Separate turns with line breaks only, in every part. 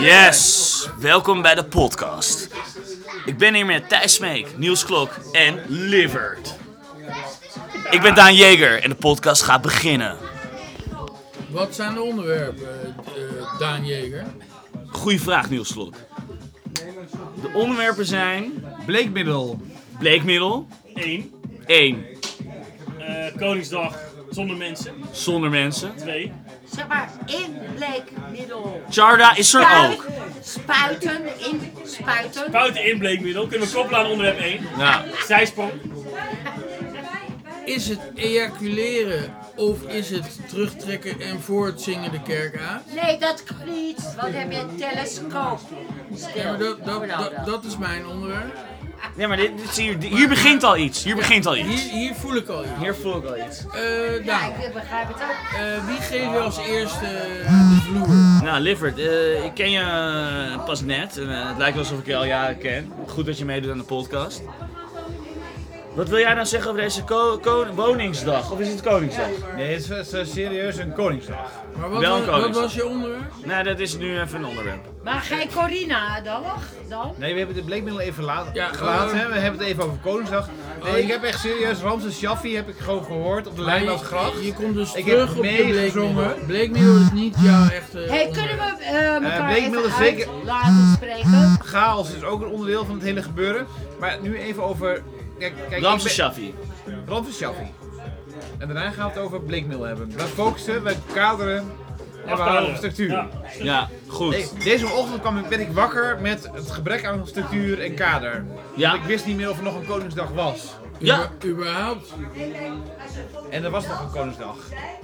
Yes, welkom bij de podcast. Ik ben hier met Thijs Smeek, Niels Klok en Livert. Ik ben Daan Jeger en de podcast gaat beginnen.
Wat zijn de onderwerpen, eh, Daan Jeger?
Goeie vraag, Niels Klok. De onderwerpen zijn
Bleekmiddel.
bleekmiddel,
1.
1.
eh, Koningsdag zonder mensen.
Zonder mensen.
2.
Zeg maar inbleekmiddel.
Charda is er
Spuit-
ook.
Spuiten, in, spuiten.
Fouten inbleekmiddel. Kunnen we koppelen aan onderwerp 1.
Ja.
Zijsprong.
Is het ejaculeren of is het terugtrekken en voortzingen de kerk aan?
Nee, dat kan niet. Want heb je een telescoop. Stil.
Ja, maar dat, dat,
Hoe nou
dat,
dan?
dat is mijn onderwerp.
Nee, maar dit, dit is hier, hier begint al iets. Hier begint al
Hier,
iets.
hier voel ik al iets.
Hier voel ik al iets.
Eh
Ja,
Daan,
ik begrijp het ook.
eh, wie geven we als eerste de vloer?
Nou, Lifford, eh, ik ken je eh, pas net. En, eh, het lijkt wel alsof ik je al jaren ken. Goed dat je meedoet aan de podcast. Wat wil jij nou zeggen over deze ko- ko- woningsdag? Of is het Koningsdag?
Nee, het is, het is serieus een koningsdag.
Maar wat,
Wel een
wa-
koning.
wat was je onderwerp?
Nee, dat is nu even een onderwerp.
Maar geen Corina dan? dan?
Nee, we hebben de bleekmiddel even laat,
Ja,
gelaten.
eh,
hè. we hebben het even over koningsdag. Nee,
oh,
ik heb echt serieus Ramses Shaffi heb ik gewoon gehoord op de lijn als gracht.
Je, je komt dus
Ik heb
terug op de
meegezongen.
bleekmiddel. Bleekmiddel is niet jouw echte
hey,
onderwerp.
kunnen we eh elkaar
bleekmiddel
even
zeker-
uit laten spreken?
Chaos is ook een onderdeel van het hele gebeuren. Maar nu even over... Kijk, kijk, ik
Ramses
ben-
Shaffi.
Ramses Shaffi. En daarna gaan we het over bleekmiddel hebben. We focussen, we kaderen en we houden op structuur.
Ja.
Ja, goed.
Nee, deze ochtend kwam ik, werd ik wakker met het gebrek aan structuur en kader.
Ja.
Ik wist niet meer of er nog een Koningsdag was.
Ja.
Uber- überhaupt.
En er was nog een Koningsdag.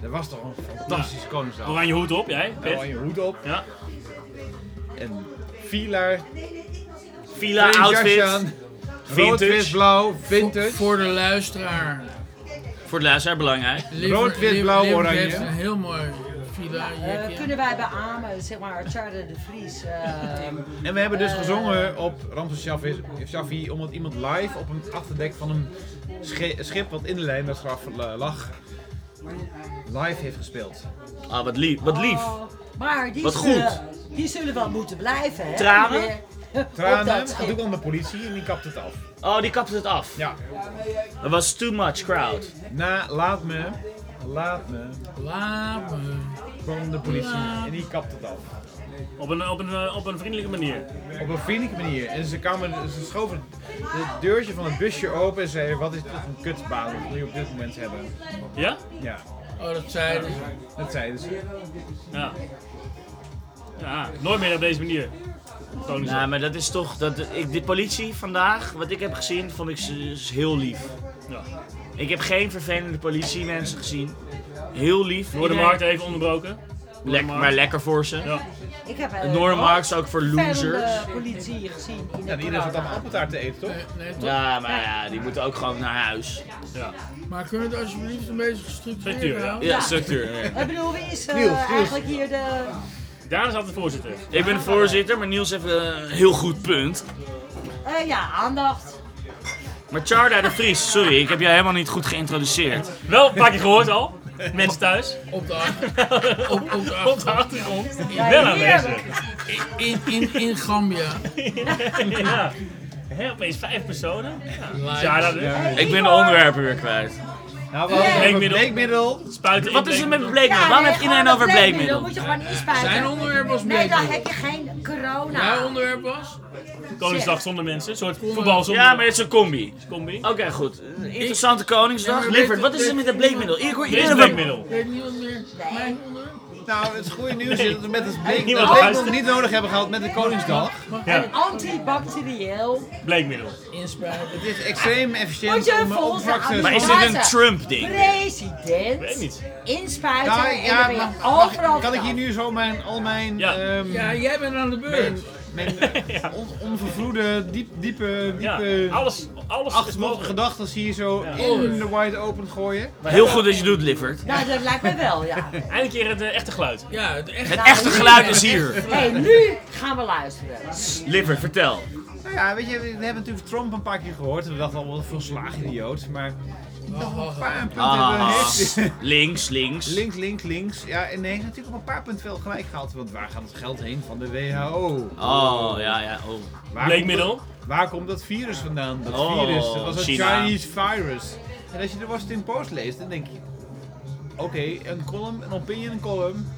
Er was toch een fantastische Koningsdag. Nou,
Oranje hoed op, jij.
aan je hoed op.
Ja.
En Vila,
Villa outfit.
Rood,
Vintage.
wit, blauw,
Voor,
vintage.
voor de luisteraar.
Voor de luisteraar belangrijk.
Liver-
Rood, wit,
Liver-
blauw,
Liver
oranje.
heeft een heel mooi villa
Eh,
jekje.
kunnen wij beamen, zeg maar, Charter de Vries. eh,
En we hebben dus gezongen op Ramses Shaffi, Shaffi omdat iemand live op het achterdek van een sche- schip wat in de lijn dat graf eh, lag, live heeft gespeeld.
Ah, wat lief. Wat lief.
oh, maar die,
Wat
zullen,
goed.
die zullen wel moeten blijven, hè?
Tranen?
Weer op
Tranen,
dat
dat doe
schip.
ik aan de politie en die kapt het af.
Oh, die kapte het af.
Ja.
Dat was too much crowd.
Na, laat me, laat me,
Laat me.
kwam de politie en die kapt het af.
Op een, op, een, eh, op een vriendelijke manier.
Op een vriendelijke manier. En ze, kwamen, ze schoven het deurtje van het busje open en zeiden: Wat is dit voor een kutbaan dat jullie op dit moment hebben?
Ja?
Ja,
Oh, dat zeiden ze.
dat zeiden ze.
Ja. Ja, nooit meer op deze manier. Koningsdag.
Nou, maar dat is toch. Dat, ik, de politie vandaag, wat ik heb gezien, vond ik ze ze heel lief. Nou,
Ja.
Ik heb geen vervelende politiemensen gezien. Heel lief.
Noordermarkt even onderbroken.
Lek, maar lekker voor ze.
Ja.
Ik heb
De
een
Noordermarkt is ook voor losers.
politie gezien in
Ja,
de
iedereen zat allemaal
corona.
appeltaart te eten, toch?
Nee, Eh, nee, toch?
Ja, maar ja, die moeten ook gewoon naar huis.
ja.
Maar kunnen we het alsjeblieft een beetje gestructureerd
Structuur, ja.
houden?
Ja, structuur.
Ik bedoel, wie is eh,
Niels, Niels.
eigenlijk hier de...
Daar is altijd de voorzitter.
Ik ben de voorzitter, maar Niels heeft een heel goed punt.
eh, ja, aandacht.
Maar Charda de Vries, sorry, ik heb jou helemaal niet goed geïntroduceerd.
Wel een paar keer gehoord al. Mensen thuis.
Op de achter- op, op de
Op de
achter-
achtergrond.
Ja,
Wel
heerlijk.
aanwezig.
in, in, in Gambia.
Ja. Hè, opeens vijf personen. Ja,
Live.
ja dat is.
Hey,
Ik ben de
Igor.
onderwerpen weer kwijt.
Nou, we hadden het over
Bleekmiddel.
bleekmiddel.
Spuiten
Wat is er
inbleekmiddel.
met
Ja,
bleekmiddel? Waarom
nee,
heeft iedereen
gewoon
over
een
bleekmiddel?
Moet je gewoon inspuiten.
Zijn onderwerp was
Nee, dan
bleekmiddel.
heb je geen corona.
Jouw onderwerp was?
Koningsdag zonder mensen, een soort voetbal zonder
Ja, maar het is een combi.
combi.
Oké, goed. Een Interessante Koningsdag. Liffert, wat is er met dat bleekmiddel? Ik hoor
Dit is
iedereen over-
bleekmiddel.
Weet niemand meer mijn onderwerp?
Nou, het goede nieuws is dat we met het bleek,
Niemand
dat bleekmiddel
luistert.
niet nodig hebben gehad met de Koningsdag.
Ja,
Antibacterieel.
bleekmiddel.
Inspuiten.
Het is extreem efficiënt
Moet je
om,
vol
om
zijn
vaccins-
Maar is dit een Trump-ding?
Weet
President.
niet.
Inspuiten.
Nou,
en dan
ja,
ben je
mag- mag-
overal
kan ik
vanaf.
hier nu zo mijn, al mijn,
Ja.
ehm,
Ja, jij bent aan de
mijn,
beurt.
mijn on, onvervloede, diep, diepe,
Ja,
diepe
alles, alles is
achtermogen
mogelijk.
gedachten hier zo
Ja.
in de wide open gooien.
Heel goed dat je doet, Liffert.
Nou, dat lijkt me wel, ja.
Eindelijk keer het eh, echte geluid.
Ja, het echt.
Het echte geluid is hier.
Hé, hey, nu gaan we luisteren.
Liffert, vertel.
Nou ja, weet je, we hebben natuurlijk Trump een paar keer gehoord. en We dachten al, wat een volslagen idioot. Maar nog een paar punten hebben.
Ah,
heeft-
links, links.
Links, links, links. Ja, en nee, heeft natuurlijk op een paar punten wel gelijk gehad. Want waar gaat het geld heen van de WHO?
Oh, ja, ja. Oh.
Waar
Bleekmiddel.
komt- Waar komt dat virus vandaan? Dat
Oh,
virus, dat was een
China.
Chinese virus. En als je de Washington Post leest, dan denk je... Oké, een column, een opinion column.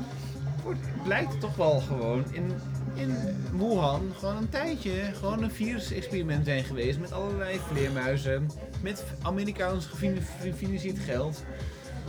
wordt- Blijkt toch wel gewoon in, in Wuhan gewoon een tijdje gewoon een virusexperiment zijn geweest. Met allerlei vleermuizen. Met Amerikaans gefin- gefinancierd geld.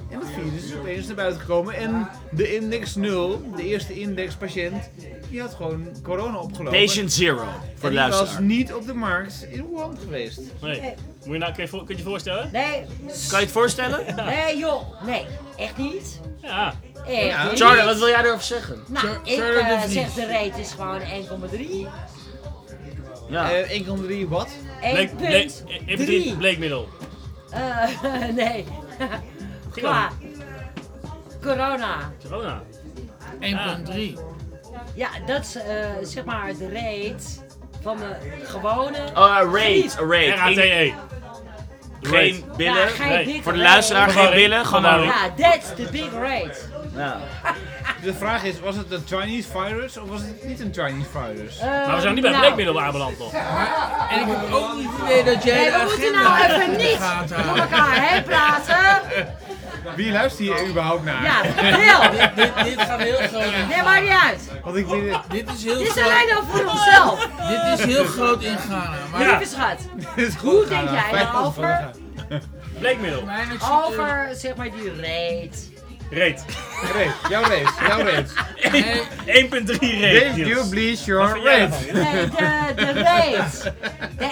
En het virus is opeens naar buiten gekomen. En de index 0, de eerste indexpatiënt, die had gewoon corona opgelopen.
Patient Zero, voor
En
de
die was
luisteraar.
niet op de markt in Wuhan geweest.
Nee. Moet je nou, kun, je, voor- kun je je voorstellen?
Nee,
Kan je het voorstellen?
nee joh, nee, echt niet.
Ja.
Echt
Ja.
niet.
Charlie, wat wil jij erover zeggen?
Nou,
Char-
ik
Charlotte
eh,
de Vries.
zeg de rate is gewoon 1,3.
Ja.
Eh, 1,3 wat?
1,3.
even drie bleekmiddel.
Eh, nee. Qua corona.
Corona.
Ah.
1,3.
Ja, dat is eh, zeg maar de rate van de gewone.
Oh, een raid, een raid. Eén-
RATE.
Geen
Ja,
billen.
geen
Nee,
dikke
Voor de
rate.
luisteraar, geen
Verwarring.
billen, gewoon een
Verwarring.
Ja, that's the big rate.
Ja.
De vraag is, was het een Chinese virus of was het niet een Chinese virus?
Eh.
Maar we zijn niet
nou,
bij bleekmiddel aanbeland nog.
En ik heb ook niet het idee dat jij
Nee,
de
we moeten nou
agenda
even
in de
niet
gaten
door
houdt.
elkaar heen praten.
Wie luistert hier überhaupt naar?
Ja, heel.
Dit, dit gaat heel groot.
Nee, maakt niet uit.
Want ik weet het-
Dit is heel
Dit is
groot.
alleen al voor onszelf.
Dit is heel groot in Ghana. Maar
Ja.
Lieve schat,
dit is
Hoe
goed
denk
gaan,
jij
vijf
erover?
punten voor gaan.
Bleekmiddel.
mijn expertise-
over zeg maar die rate.
Reet.
Race, jouw race, jouw race.
Nee,
1.3 reet.
Dave, you bleach
Wat
your
vind jij
race.
Nee, de, de rate. De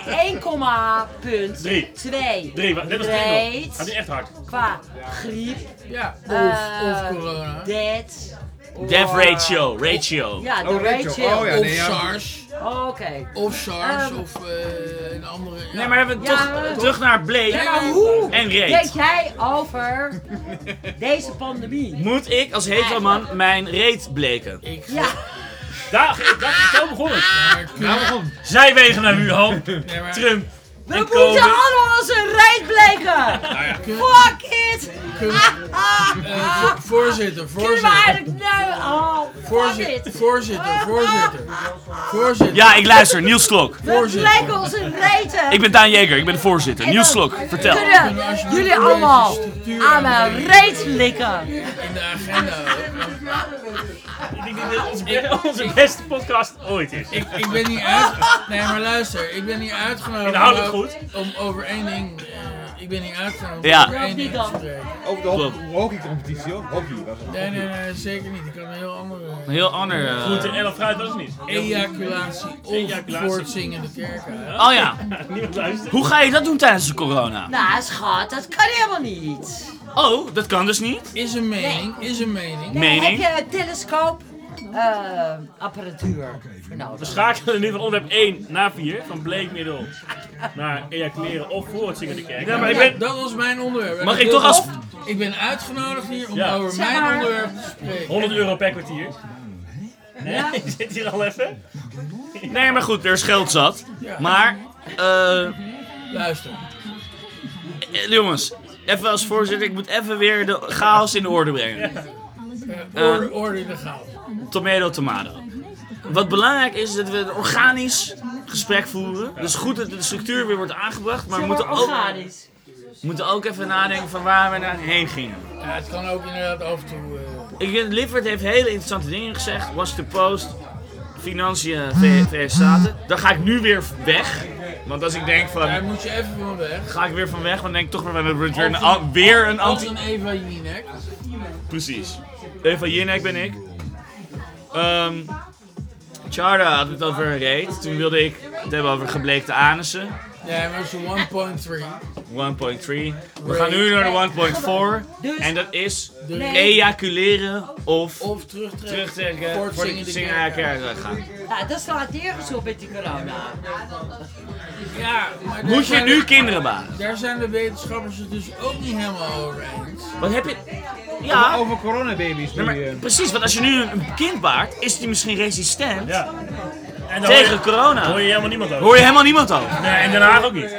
Drie.
1,2.
3, dit was 3 nog. Gaat nu
Rate
echt hard.
qua griep.
ja, of,
Eh,
of corona.
Dead.
Death
or-
ratio, ratio.
Ja, de
Oh, ratio.
ratio.
Oh, ja.
Of
nee,
SARS.
Oké.
Of SARS.
Ehm.
Of eh, een andere. ja.
Nee, maar hebben we
Ja,
toch
eh,
terug naar
Ja,
Blake
maar hoe
en
denk
reet.
jij over deze pandemie?
Moet ik als hetelman mijn reet bleken?
Ik
Ja,
Daar, daar, zo begon het.
maar kun-
Nou, waarom?
Zij wegen naar Wuhan,
nee, maar
Trump
we
en
moeten
Kobe.
allemaal als een reet bleken.
kun-
Fuck it.
kun-
Ah,
eh, vo- voorzitter,
kunnen we
voorzitter.
eigenlijk nou... Oh, fuck
Voorzitter,
it.
voorzitter, voorzitter. Voorzitter.
Ja, ik luister, Niels Slok.
We
Voorzitter.
bleken als een reten.
Ik ben Daan Jeker, ik ben de voorzitter.
En
Niels
dan
Slok, vertel.
Kunnen
Kunnen
alsjeblieft
jullie
deze
allemaal
structuur
aan mijn
aanbrengen?
reet likken?
In de agenda.
Ik denk dat dit onze, be- onze beste podcast ooit is.
Ik, ik ben niet uit... Nee, maar luister. Ik ben niet uitgenodigd
Inhoudelijk
om-
goed.
om over één ding... eh, ik ben niet uitgenodigd
Ja.
om over één ding te spreken.
Ook de
Klopt.
ho- hockeycompetitie, hoor. Hockey was het.
Nee, nee, nee, zeker niet. Ik kan een heel andere...
Een heel ander... eh,
Goed, en dat fruit was het niet.
Ejaculatie of
Ejaculatie.
voortzingende kerken.
Oh ja,
Niemand luistert.
hoe ga je dat doen tijdens de corona?
Nou, schat, dat kan helemaal niet.
Oh, dat kan dus niet.
Is een mening, is een mening.
Nee,
Mening?
Heb je een telescoop? eh, apparatuur Nou, voor
We
nodig.
schakelen nu van onderwerp 1 naar 4, van bleekmiddel naar ejaculeren of voor het zingen de kerk.
Ja, maar ik
Ja,
ben...
dat was mijn onderwerp. En
Mag ik
wil
toch als-
ook- Ik ben uitgenodigd hier om
Ja.
over
Zeg
mijn
maar.
onderwerp te spreken.
100 euro per kwartier. Nee, je zit hier al even.
Nee, maar goed, er is geld zat. Maar, eh...
Luister.
Eh, Jongens, even als voorzitter, ik moet even weer de chaos in de orde brengen.
Eh, orde, orde in de gaten.
Tomato, tomato. Wat belangrijk is, is dat we een organisch gesprek voeren. Dus goed dat de structuur weer wordt aangebracht, maar
Zeg
we moeten
maar
ook,
organisch.
we moeten ook even nadenken van waar we naar heen gingen.
Ja, het kan ook inderdaad af en toe... eh,
Ik vind, Lifford heeft hele interessante dingen gezegd. Washington Post, Financiën, V- VS Staten. Daar ga ik nu weer weg. Want als ik denk
daar
van,
moet je even van weg.
ga ik weer van weg, dan denk ik toch weer, we hebben weer een, an- weer een
Als
anti...
een Eva Jinek.
Precies. Eva Jinek ben ik. Ehm Chara had het over een reet. Toen wilde ik het hebben over gebleekte anussen. 1.3.
Ja, maar zo'n 1.3.
We gaan nu naar de 1.4. En dat is
Nee.
ejaculeren of
Of terugtrekken.
terugtrekken
Voor
voor
het
de
zingen de
zingen
kerk.
naar elkaar gaan.
Ja, dat slaat nergens op met die corona.
Ja, maar daar
Moet je
zijn-
nu kinderen baren?
Daar zijn de wetenschappers het dus ook niet helemaal over eens.
Wat heb je... Ja,
Over coronababies
nee,
nu.
maar
eh.
precies. Want als je nu een kind baart, is die misschien resistent.
Ja. En dan
Tegen
hoor je- Hoor
corona.
je helemaal niemand over.
Hoor je helemaal niemand over.
Nee, en Den Haag ook niet.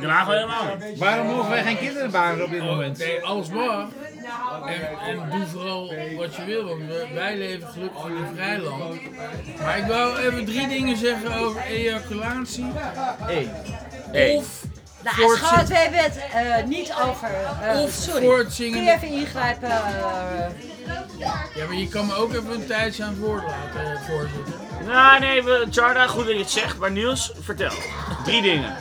Den Haag wel helemaal niet.
Waarom mogen wij geen kinderen baren op
Oh,
dit moment?
Nee, alles mag. En, en doe vooral wat je wil, want we- wij leven gelukkig in een vrij land. Maar ik wou even drie dingen zeggen over ejaculatie.
Eén.
Of
Nou,
voortzing-
schat, we hebben het eh, niet over. eh,
Of
sorry.
voortzingen-
Kun je even ingrijpen? eh,
Ja, maar je kan me ook even een tijdje aan het woord laten, eh, voorzitter.
Nou, nee, we- Jarda, goed dat je het zegt, maar Niels, vertel. Drie dingen.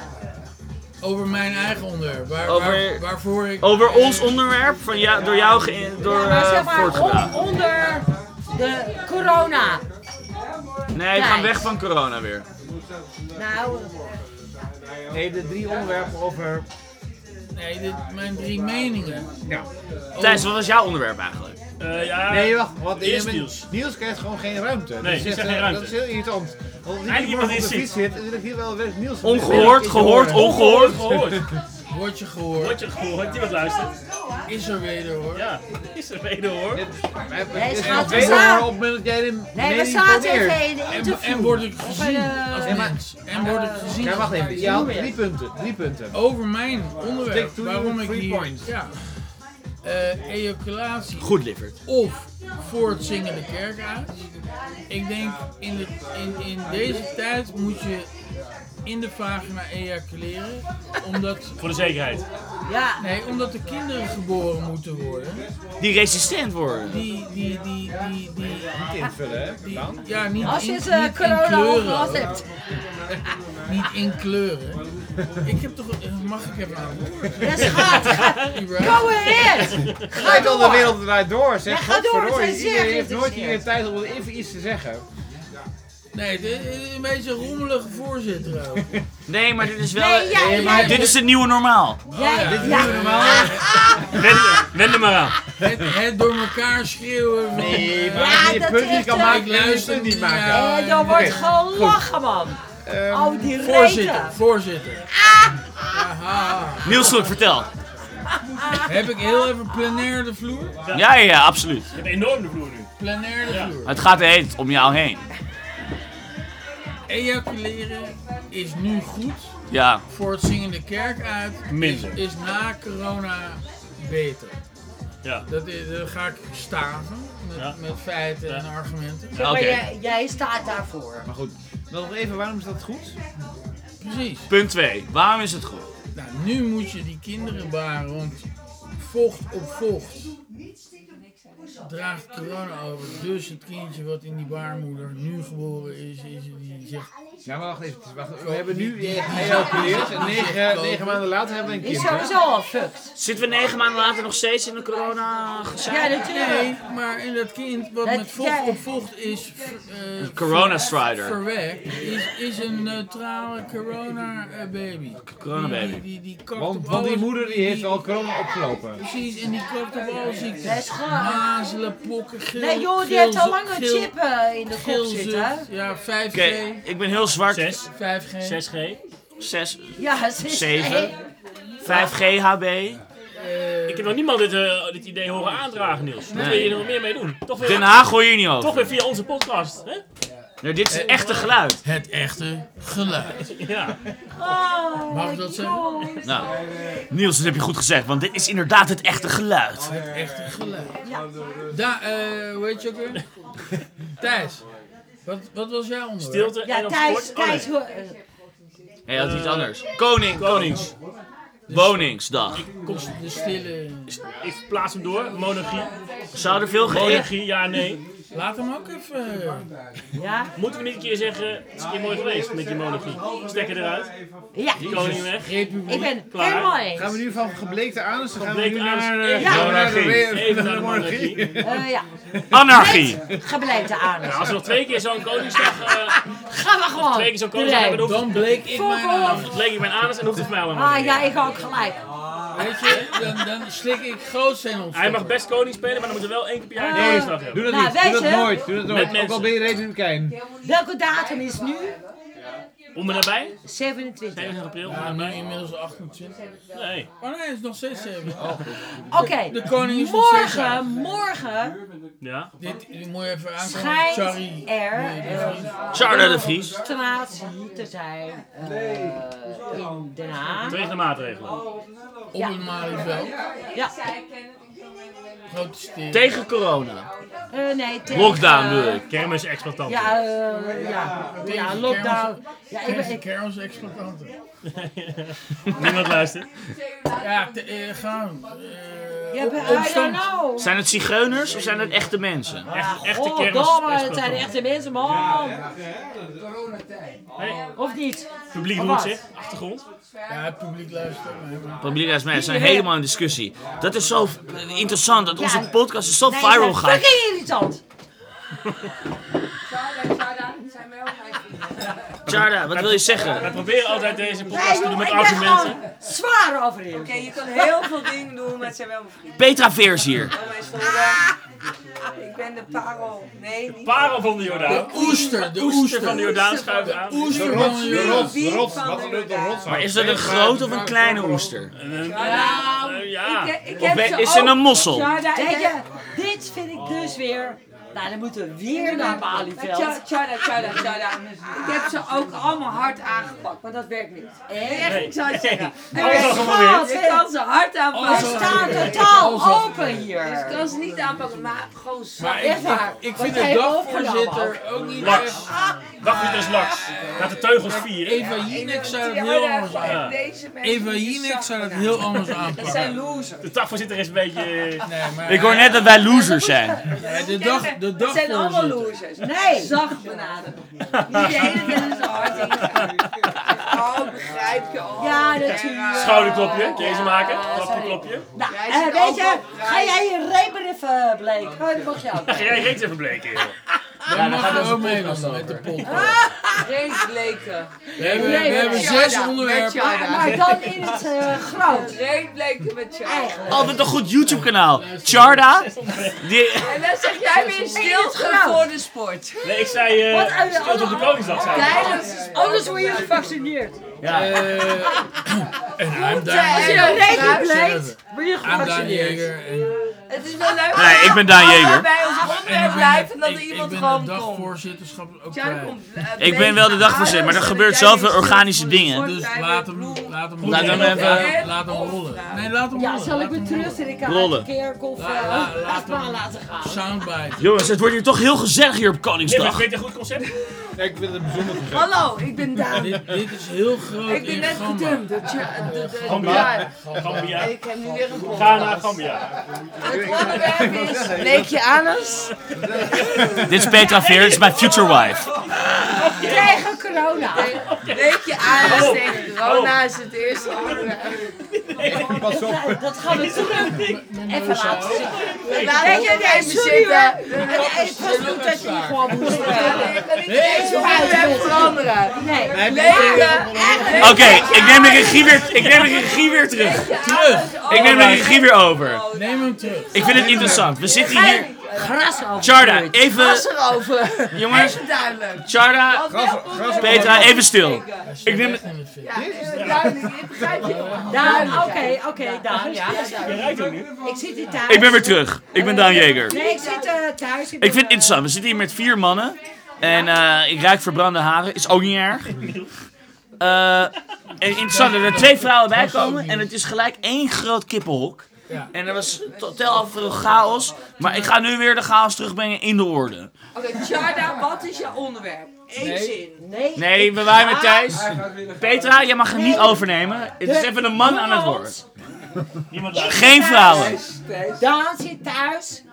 Over mijn eigen onderwerp. Waar,
Over-
waar, waarvoor ik.
Over
eh,
ons onderwerp, van jou, door jou ge- door,
ja, maar zeg
eh,
maar
voortgedragen.
on- onder de corona.
Nee, we gaan
Kijk.
weg van corona weer.
Nou,
Nee, de drie onderwerpen over...
Nee, dit, mijn drie meningen.
Ja.
Thijs, wat was jouw onderwerp eigenlijk?
Eh, ja,
Nee, wacht. Wat,
Eerst
je bent-
Niels.
Niels krijgt gewoon geen ruimte.
Nee,
dat, is
Niels
echt,
krijgt
eh,
geen
dat is
ruimte.
heel irritant. Want als ik
Eindelijk
hier
iemand
op
die
de
zit.
fiets zit, dan wil ik hier wel weer Niels...
Ongehoord, gehoord, ongehoord.
Gehoord.
Word je gehoord?
Word je gehoord? Die wat luistert.
Is er wederhoor?
Ja, is er reden hoor.
Nee,
Deze
ze
gaat
gaat-
twee
we zaten-
op het moment dat jij de
nee, we
mening
zaten
probeert.
even in de
En,
interview.
en word ik
Of
gezien
een,
als
eh,
mens. En word ik gezien
Ja,
als
wacht even.
mens.
Je had drie punten. Drie punten.
Over mijn onderwerp.
Stick to
waarom
your
ik
three
hier...
points.
Ja. Eh, ejaculatie
Goed, Liffert.
of voor het zingen de kerk uit. Ik denk in, de, in, in deze tijd moet je in de vagina ejaculeren. Omdat,
Voor de zekerheid.
ja,
nee, omdat er kinderen geboren moeten worden.
Die resistent worden.
Die, die, die, die, die,
Niet invullen, hè?
die-
Dan.
ja, niet
als je
in-
het
niet
eh,
in
corona
kleuren,
opgelost
hoor.
hebt.
Niet in kleuren. Ik heb toch, eh, mag ik even aan het woord?
Ja, schat, ga-
Überhaupt?
go ahead. Ga
Kijk al de
door.
wereld draait door, zeg.
Ja, ga door,
Godverdorie,
het is zeer
Iedereen heeft nooit hier
geïnteresseerd.
tijd om even iets te zeggen.
Nee, dit is een beetje een rommelige voorzitter ook.
Nee, maar dit is wel... Eh,
Nee, jij,
Nee,
jij,
maar
jij,
Dit is het nieuwe normaal.
ja,
jij,
dit is
ja.
Normaal.
Wend- Wend er maar aan.
Het, het door elkaar schreeuwen van...
Nee,
eh,
maar
Ja,
als je je
dat
punt niet
echt,
kan
eh,
maken,
ik
kun je je
luister
punt niet
niet
maken.
naar-
Eh, dan wordt
Oké,
gelachen, man.
Ehm,
Oh, die
Voorzitter,
reten.
voorzitter. Aha.
Niels Slok, vertel.
Heb ik heel even plenair de vloer?
Ja, ja, ja, absoluut.
Je hebt enorm de vloer nu.
Plenair de
Ja.
vloer.
Het gaat de hele tijd om jou heen.
Ejaculeren is nu goed
Ja.
voor het zingende kerk uit.
Minder.
Is, is na corona beter.
Ja.
Dat is, daar ga ik staven met,
Ja.
met feiten en
Ja.
argumenten.
Zeg maar,
Oké.
jij, jij staat daarvoor.
Maar goed, dan nog even, waarom is dat goed?
Precies.
Punt 2. Waarom is het goed?
Nou, nu moet je die kinderen baren, want vocht op vocht draagt corona over. Dus het kindje wat in die baarmoeder nu geboren is, is die zegt...
Ja, maar wacht even. Wacht, we hebben nu geëvacueerd en negen, negen maanden later hebben we een
Die is
kind. hè?
sowieso al fucked.
Zitten we negen maanden later nog steeds in de corona
Ja,
gezeik?
Nee,
natuurlijk.
maar in dat kind wat
Dat-
met vocht
ja.
op vocht is eh,
corona
ver-
strider.
verwekt, is, is een neutrale corona eh, baby.
Corona
Die,
baby.
die, die kapt
Want,
op
want die
alles.
moeder die heeft al corona opgelopen.
Precies, en die kapt op alle
Dat is
ziektes.
gewoon-
Mazelen, pokken, geel,
Nee, joh, die
geel-
heeft al lang een
geel-
chip eh, in de kop
Geelzucht,
zitten.
ja, 5G.
Oké, ik ben heel zwart.
6.
5G.
6G.
6,
Ja, ze is-
7, 5G HB.
Ik heb nog niemand dit, eh, dit idee horen aandragen, Niels. Moeten we
Nee.
hier nog meer mee doen? Toch weer,
Den Haag hoor je hier niet
toch weer
over.
via onze podcast, hè?
Nee, dit is het echte geluid.
Het echte geluid.
Ja.
Oh,
Mag ik dat zeggen?
joh.
Nou, Niels, dat heb je goed gezegd, want dit is inderdaad het echte geluid.
Het echte geluid. Da, eh, hoe heet je ook weer? Thijs, wat, wat was jouw onderwerp?
Stilte en
Ja,
op
Thijs,
sport. Oh, nee.
Thijs, hoor- eh,
Nee, dat is iets anders. Eh, Koning,
Konings. Dus-
Woningsdag.
Kom,
De stille...
ik plaats hem door. Monarchie.
Zou er veel geëerd...
Monarchie, ja, nee.
Laat hem ook even... eh,
ja.
Moeten we niet een keer zeggen, het is een keer mooi geweest met die monarchie. Stekker eruit,
Ja,
die koning weg.
Republiek.
ik ben
Klaar.
helemaal
Gaan we
eens.
nu van gebleekte anus, dan gaan we nu
Gebleekte
naar,
anus.
eh,
Ja.
gaan we naar de
Monarchie.
re-
Even
naar de
naar de
monarchie.
monarchie.
Eh, ja,
Anarchie.
gebleid de
Nou,
aan.
als we nog twee keer zo'n koningsdag, eh
Gaan we gewoon.
twee keer zo'n koningsdag hebben,
Erin.
dan hoeft
Dan bleek ik
Voor
mijn eh, naam.
voor-
leek ik mijn anus en hoeft het mij allemaal
Ah
niet
ja,
meer.
ik ook gelijk.
eh, Weet je, dan, dan slik ik groot zijn op.
Hij mag best koning spelen, maar dan moeten we wel één keer per jaar een koningsdag hebben.
Doe dat
Nou,
niet, doe dat
weet je-
nooit, doe dat nooit. Ook al
mensen.
ben je republikein.
Welke datum is nu?
Om me daarbij?
27.
21 april.
Ja,
om
nu
me daarbij?
inmiddels 28.
Nee.
Oh nee, het is nog steeds Oh, 7.
Oké,
De koning is nog steeds
morgen,
uit.
morgen
Ja.
Dit, dit moet je even aankomen.
schijnt
Sorry.
er
Nee, dit is niet-
eh,
Charlotte de Vries.
demonstratie te zijn eh, in Den Haag.
Tegen de maatregelen.
Op het Malieveld.
Ja,
Protesteren.
Tegen corona.
eh, nee, tegen,
Lockdown
eh,
bedoel ik.
Kermis exploitanten.
Ja, eh, ja, ja, lockdown. Ja, ik ben,
Tegen
ik,
kermisexploitanten.
Niemand luistert.
Ja, te, eh, gaan. Eh,
ja,
op-
but I don't
opstand.
know.
Zijn het zigeuners of zijn het echte mensen?
Echt, echte kermis
Goddomme, het zijn echte mensen, man.
Hey,
Of niet?
publiek
Of
roert
Oh, wat?
zich. Achtergrond.
Ja, het publiek luistert. ook mee, maar-
Publiek als mensen zijn helemaal in discussie. Dat is zo eh, interessant dat onze
Ja.
podcast is zo
Nee,
viral
ze zijn
gaat.
Fucking irritant.
Charda, wat wil je
Wij
zeggen?
proberen altijd deze
Nee,
podcast te doen
joh,
met
ik ben
argumenten.
gewoon zwaar over in.
Oké, je kan heel veel dingen doen, maar het zijn wel mijn vrienden.
Petra Veers hier.
Oh, mijn schouder. Ik ben de parel. Nee, niet.
Parel van de Jordaan.
De oester, de
Oester
oester.
van de Jordaan schuift aan.
Oester
rots,
van de
de
Jordaan.
rots.
Wie
rots,
van
wat
de
een leuke
Jordaan?
rots.
Maar is dat een grote of een kleine oester?
En, eh,
Ja,
eh,
Ik,
ja.
ik
Ah. Of
heb
ben-
ze
is het
ook.
een mossel?
Tjarda, ik
Weet
heb-
je, dit vind ik dus weer... Nou, dan moeten we weer naar Malieveld.
Tja- Tjarda, Tjarda, Tjarda. Ik heb ze ook allemaal hard aangepakt, maar dat werkt niet. Echt, ik zou het zeggen.
Nee. Alles al geprobeerd.
Ik kan ze hard
We
aanpakken.
staan totaal open hier.
Ik kan ze niet aanpakken, maar gewoon zo.
Maar ik,
Echt waar.
ik, ik
Wat
vind
jij
de
opgenomen
dagvoorzitter ook niet
Laks.
echt...
Wacht eens laks. Laat de teugels vieren.
Eva Jinek zou dat heel anders aan. Eva Jinek zou dat heel anders
Dat
aanpakken.
zijn losers.
De dagvoorzitter is een beetje... eh,
Nee, maar
Ik hoor net dat wij losers zijn.
Nee, de dag, de
Dat zijn allemaal
dagvoorzitter.
losers.
Nee.
Zacht benaderen. Niet de hele tijd zo hard ingaan. Oh, begrijp je al.
Ja, natuurlijk.
Schouderklopje. Deze
Ja,
maken.
sorry.
Klapperklopje.
Nou,
Jij
eh,
zit
weet
ook
je,
op prijs.
ga jij je repen even bleek. Oh, dat mag je ook.
Ga jij reet even bleken, joh.
Daar mag je ook mee doen met de
Ah,
podcast.
Reeds bleken.
We hebben, we hebben zes onderwerpen.
Maar, maar dan in het eh, groot.
Reeds bleken met jou.
Altijd een goed YouTube kanaal. Charda? Die...
En dan zeg jij weer stilte
groot.
voor de sport.
Nee, ik zei... eh,
Wat uit de-
stilte op de Koningsdag, zei ik.
Tijdens de sport.
Anders word je gevaccineerd.
Ja.
Eh, En I'm
Als je
Daan
een repen
Jeger.
bleekt, word je
I'm Daan
gevaccineerd.
Jeger. En
Het is wel leuk.
Nee, ik ben Daan
Allemaal
Jeger.
bij ons onderwerp blijven dat
ik-
er iemand
ik ben
gewoon
de
komt.
dagvoorzitterschap ook
Jij
kwijt.
komt, eh,
Ik ben wel de dagvoorzitter, maar er
Alles
gebeurt
dat jij
zoveel
weer stilte
organische
voor de
dingen.
sport
Dus
bij
laat
de
hem,
bloem.
laat hem
Laat hem
rollen.
even-
Laat hem rollen. Nee, laat hem rollen.
Ja, zal ik
laat
me
hem rollen.
terug en ik ga
Rollen.
een keer of
La- la-
eh,
laat
achtbaan
hem-
laten gaan.
Soundbite.
Jongens, het wordt hier toch heel gezellig hier op
Nee, maar ik
Koningsdag.
vind het een goed concept.
Nee, ik vind het een bijzonder gezicht.
Hallo, ik ben Daan.
Dit, dit is heel groot
Ik ben
in
net
Gamma.
gedumpt. door Tja- de- de-
Gambia.
Ja,
Gambia.
Ik heb nu weer een bom.
Ga naar Gambia.
Het onderwerp is leek je anus
Dit is Petra Veers, dit is mijn future wife.
Tegen corona.
Leek je anus tegen corona is het eerste onderwerp.
Pas op.
Dat gaan we terug. Even laten zien.
Laat
Weet je,
je
nee,
even
sorry
zitten.
hoor. Nee, Het was goed dat je hier gewoon moest eh,
Ik kan niet eens hoe hij hem veranderen.
Nee.
Leken,
Oké, ik neem de regie weer, ik neem de regie weer terug.
terug.
Ik neem de regie weer over.
Neem hem terug.
Ik vind het interessant. We zitten hier.
Gras over.
Charda,
Was
even.
erover.
Jongens,
Even duidelijk.
Charda, Petra, even stil. Ik neem.
Echt in het vet.
Ja, even duidelijk. Ik begrijp je wel.
Daan, oké, oké, Daan. Ja,
Je rijdt hem niet.
Ik zit hier thuis.
Ik ben weer terug. Ik ben Daan Jeger.
Nee, ik zit eh, thuis.
Ik vind het interessant. We zitten hier met vier mannen. En eh, ik ruik verbrande haren. Is ook niet erg. Eh, en interessant dat er twee vrouwen bij komen. En het is gelijk één groot kippenhok.
Ja.
En er was totaal veel chaos. Maar ik ga nu weer de chaos terugbrengen in de orde.
Oké, Tjarda, wat is jouw onderwerp? Eén zin.
Nee,
Nee, we waren met Thijs. Petra, jij mag hem niet overnemen. Het is even een man aan het woord.
Niemand luistert.
Geen vrouwen.
Daan zit thuis.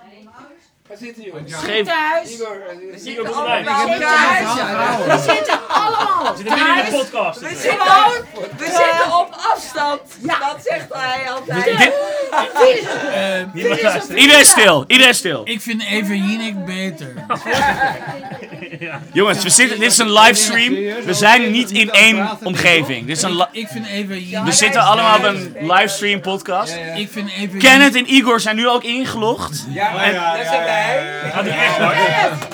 Geen...
Thuis.
We
Zie je ook
zitten
nog bij.
allemaal bij elkaar.
We zitten allemaal
Zit er niet in
thuis.
de podcast.
We zitten, we zitten op afstand.
Ja.
Dat zegt hij altijd.
Dit...
Niemand luistert.
Iedereen stil. Iedereen stil.
Ik vind Eva Jinek beter.
Jongens, we zitten, dit is een livestream. We zijn niet in één omgeving. Dit is een li-
Ik vind Eva
we
Jinek...
zitten allemaal op een livestream podcast.
Ik vind Eva Jinek...
Kenneth en Igor zijn nu ook ingelogd.
Daar zijn wij.
Gaat nu echt hard.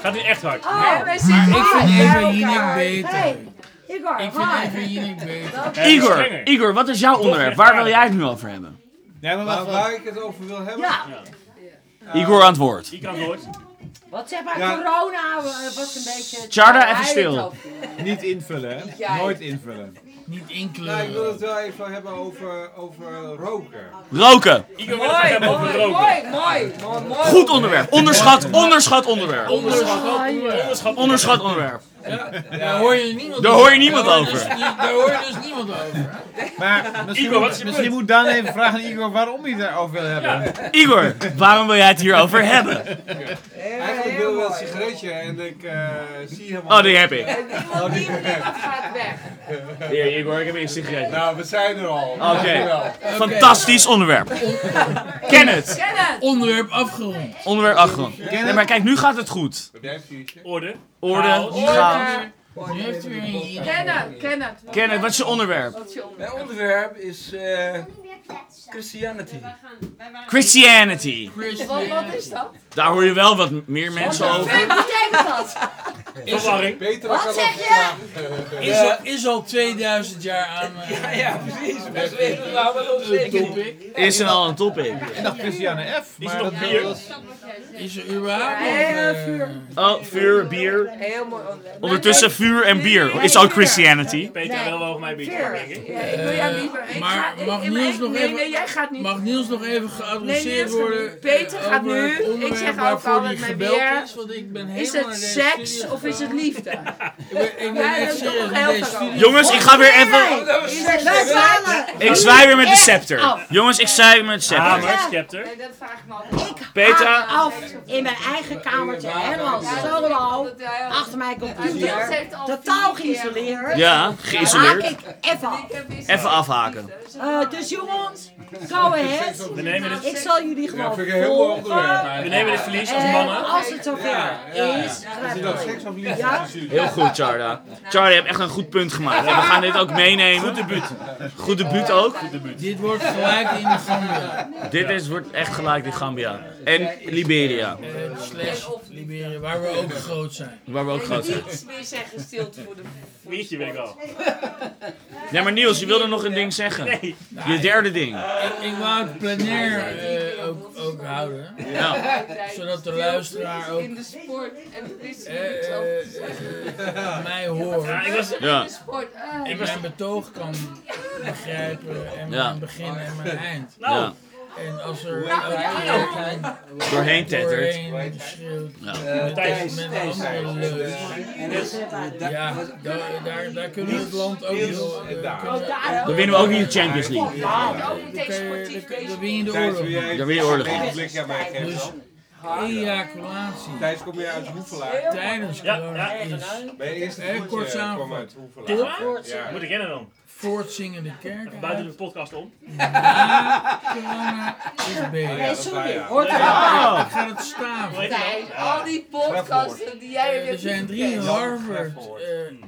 Gaat nu echt hard.
En we zitten
Ik vind
allemaal
Eva
bij
Jinek
elkaar.
beter.
Hey, ik
Igor,
Ik vind
hi.
even Jinek beter.
Ja, Eh, die is
Igor,
strenger.
Igor, wat is jouw onderwerp? Waar wil jij het nu over hebben?
Nee, maar
Maar
wacht,
waar
wacht.
ik het over wil hebben.
Ja,
Igor aan het woord.
Ik kan het woord.
wat zeg maar,
Ja.
corona eh, was een beetje...
Tjarda,
Waar
even
hij
stil.
het over heeft.
Niet invullen, hè?
Jij.
Nooit invullen.
Niet
Nou, ik wil het
inkleuren.
wel even hebben over, over roken.
Roken.
Igor wil het graag
Mooi,
hebben over
mooi,
roken.
mooi, mooi, mooi, mooi.
Goed onderwerp. Onderschat, onderschat onderwerp.
Onderschat.
Onderschat.
Onderschat onderwerp.
Daar hoor je niemand
Daar hoor je niemand over.
dus- Daar hoor je dus niemand over.
Maar misschien,
Igor, wat is
moet,
je
misschien
punt?
moet Daan even vragen aan Igor waarom hij het daarover wil hebben.
Igor, waarom wil jij het hierover hebben?
Eigenlijk wil ik wel een sigaretje en ik eh, zie helemaal.
Oh, die heb ik.
Iemand die meneer gaat weg.
Hier, Igor, ik heb een sigaretje.
Nou, we zijn er al.
Oké.
Dankjewel.
Fantastisch onderwerp. Ken het.
Kenneth!
Onderwerp afgerond.
Onderwerp achtergrond. Nee, maar kijk, nu gaat het goed.
Heb jij een vuurtje?
Orde.
Orde,
Chaos.
chaos.
Nu heeft u weer een Jinek.
Kenneth, Kenneth. wat-
Ken het, wat is je onderwerp?
Wat is je onder-
Mijn onderwerp is eh, Christianity.
Christianity.
Wat, wat is dat?
Daar hoor je wel wat meer mensen
Wat
over.
betekent dat?
Verwarring.
Beter
Wat
dan
zeg
dat-
je?
Is al, is al 2000 jaar aan
Ja,
eh,
ja, precies. Best weten we nou wel nog
de
zeker.
topic.
Is er al een topic?
Ik dacht Christiane F.
Is
Maar
er nog
dat
bier?
was...
Is er überhaupt nog...
Ja,
eh,
vuur.
Oh, vuur, bier.
Heel mooi onderwerp.
Ondertussen vuur en bier. Is al Christianity.
Peter wil wel over mij bieden, denk ik.
Ja, ik wil jou niet meer. Ik
maar
ga- ik-
mag
ik-
Niels
ik-
nog
nee,
even-
Nee, jij gaat niet.
Mag Niels nog even
Nee,
geadresseerd
Niels,
worden?
Peter
eh,
gaat
over
nu.
het
Ik
onderwerp
zeg ook
waarvoor
altijd
die
mijn
gebeld
weer.
is, want ik ben
Is
helemaal
het
naar deze
seks
studie
of is het
gegaan.
liefde?
Ik ben, ik ben
Ja, dat
echt
is toch
serieus
nog
naar
heel
deze
veel
studie.
Jongens, ik ga weer even...
Dat was
Is het zwaar?
Ik zwaai weer met de scepter. Jongens, ik zwaai weer met de scepter.
Hamer, scepter.
Nee, dat vraag ik me altijd.
Peter,
af in mijn eigen kamertje, helemaal solo, achter mijn
Niels
computer,
heeft al
totaal
vier keer-
geïsoleerd.
ja,
Haak
geïsoleerd.
ik even af.
Ik heb iets-
Even afhaken.
Eh, dus jongens, go ahead.
We nemen het,
Ik zal jullie
Ja,
gewoon
vind ik een heel mooi
volgen.
onderwerp.
we nemen het verlies als
En
mannen.
als het zover is,
Is
krijgen
dat
we-
seks of liefde?
Ja?
Heel goed, Charda. Charda, je hebt echt een goed punt gemaakt. En we gaan dit ook meenemen. Goed debuut. Goed debuut ook.
Dit wordt gelijk in de Gambia.
Dit is, wordt echt gelijk in Gambia. En Liberia,
eh, slash Liberia, waar we ook groot zijn.
waar we ook groot zijn.
Niets meer zeggen, stilte voor de...
Liedje wil ik al.
Ja, maar Niels, je wilde nog een ding zeggen.
Nee.
Je derde ding.
Ik, ik wou het plenair eh, ook, ook houden.
Ja.
Zodat de luisteraar ook
In de sport en de is
eh, eh, eh, mij
Ja,
hoort.
ik was,
Ja.
de sport. eh,
Ik mijn betoog kan begrijpen en
Ja.
mijn begin en mijn eind.
ja.
En als er ook weer klein
Doorheen tettert.
doorheen schreeuwt
Eh, Thijs,
met
Thijs,
andere
Thijs.
leus.
En dat-
Ja, daar, daar, daar kunnen we het land ook
Niels
wel...
en Daan.
eh,
Dan winnen we ook niet de Champions League.
ook meteen
kunnen- Dan
sportief
kun je-
bezig.
dan win je de
Thijs, wil
oorlog.
jij
Dan weer oorlog.
een blik aan mij geven
Dus
dan?
ejaculatie
Thijs, kom je uit Hoevelaar?
tijdens
Ja,
corona
ja.
is
Mijn eerste
Eh, kort
voetje
samen.
kwam uit
Top.
Hoevelaar. Ja.
moet ik kennen dan.
voortzingende kerk.
Even buiten de podcast om.
Corona is beter.
Nee,
dat waren,
sorry,
ja.
hoort er
Ik ga het
Hoe
staven.
heet die dan?
Thijs, al die podcasten die jij
Eh,
hebt
Er zijn drie
gekeken.
Harvard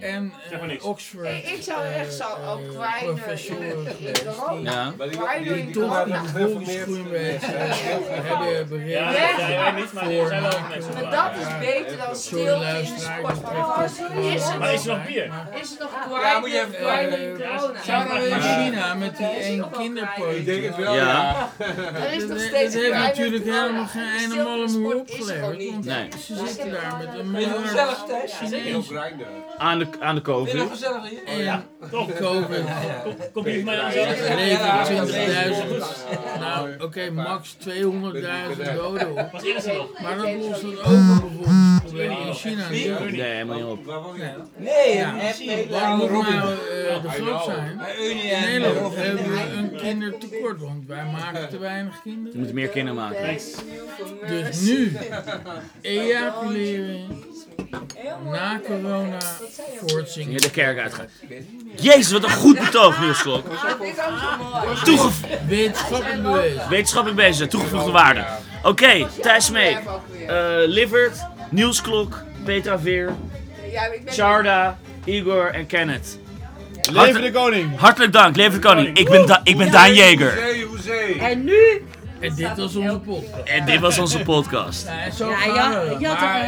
eh, en
Zeg maar niks.
eh, Oxford.
Ik zou echt zo
eh,
ook kwijnen in-
professoren
in- in
geweest.
Rome.
Ja.
Maar die,
Waar
die, die,
jullie
komt
toch
uit
Die
een
Golisch
gereformeerd
groenbeet
mensen.
eh, hebben
Ja,
bereikt.
dat zijn wij niet, maar er zijn wel wat mensen.
Maar
van.
dat is beter
Sorry,
dan stilte in de
luisteraar,
sport.
ik betreft het
Oh, is
Maar
het nog,
is er nog bier?
Maar-
is het nog
Ja, moet je even-
kwijnen in
Eh,
corona?
Zou
maar-
er in
maar-
China met die één
Ik denk
kinderpolitiek.
het wel,
Ja.
ja.
Er is nog
Dat heeft
steeds kwijnen in
natuurlijk
corona.
helemaal geen
Stilte
einde
in de
allemaal
sport
meer
is er gewoon
opgeleverd. want
niet.
Nee.
Ze zitten daar met een miljard
Gezellig, Thijs. In
Chinezen.
Oekraïne.
Aan de, aan de COVID.
gezellig hier?
En
Toch?
COVID
Kom- Kom hier voor mij dan
Ja,
zelf.
rekenen 20.000.
Ja.
Nou, oké, max 200.000 doden op.
Was eerder nog.
Maar dat lost het ook bijvoorbeeld probleem in China niet op.
Nee, helemaal niet op.
Waar woon jij?
Wat moet nou eh, de groot zijn? In Nederland hebben we een kindertekort, want wij maken te weinig
Je
kinderen.
moet meer kinderen maken.
Dus nu ejaculeren na corona voortzingen.
Hier de kerk uitgaan. Jezus, wat een goed betoog, Niels Klok.
Dit is ook zo mooi.
Toege-
Wetenschappelijk bewezen.
Wetenschappelijk bezig, zijn, toegevoegde waarde. Oké, Thijs Meek. eh Livert, Niels Klok, Petra Veer,
Ja, ik ben-
Sharda, Igor en Kenneth.
Leven de koning!
Hartelijk dank, leef de koning. Ik ben, Da- ik ben Daan Jeger.
Hoezee, hoezee.
En nu
En dit was onze podcast.
En dit was onze podcast.
Nou, en zo
Ja,
gaan
ja,
we.
ja, toch,
Maar
eh,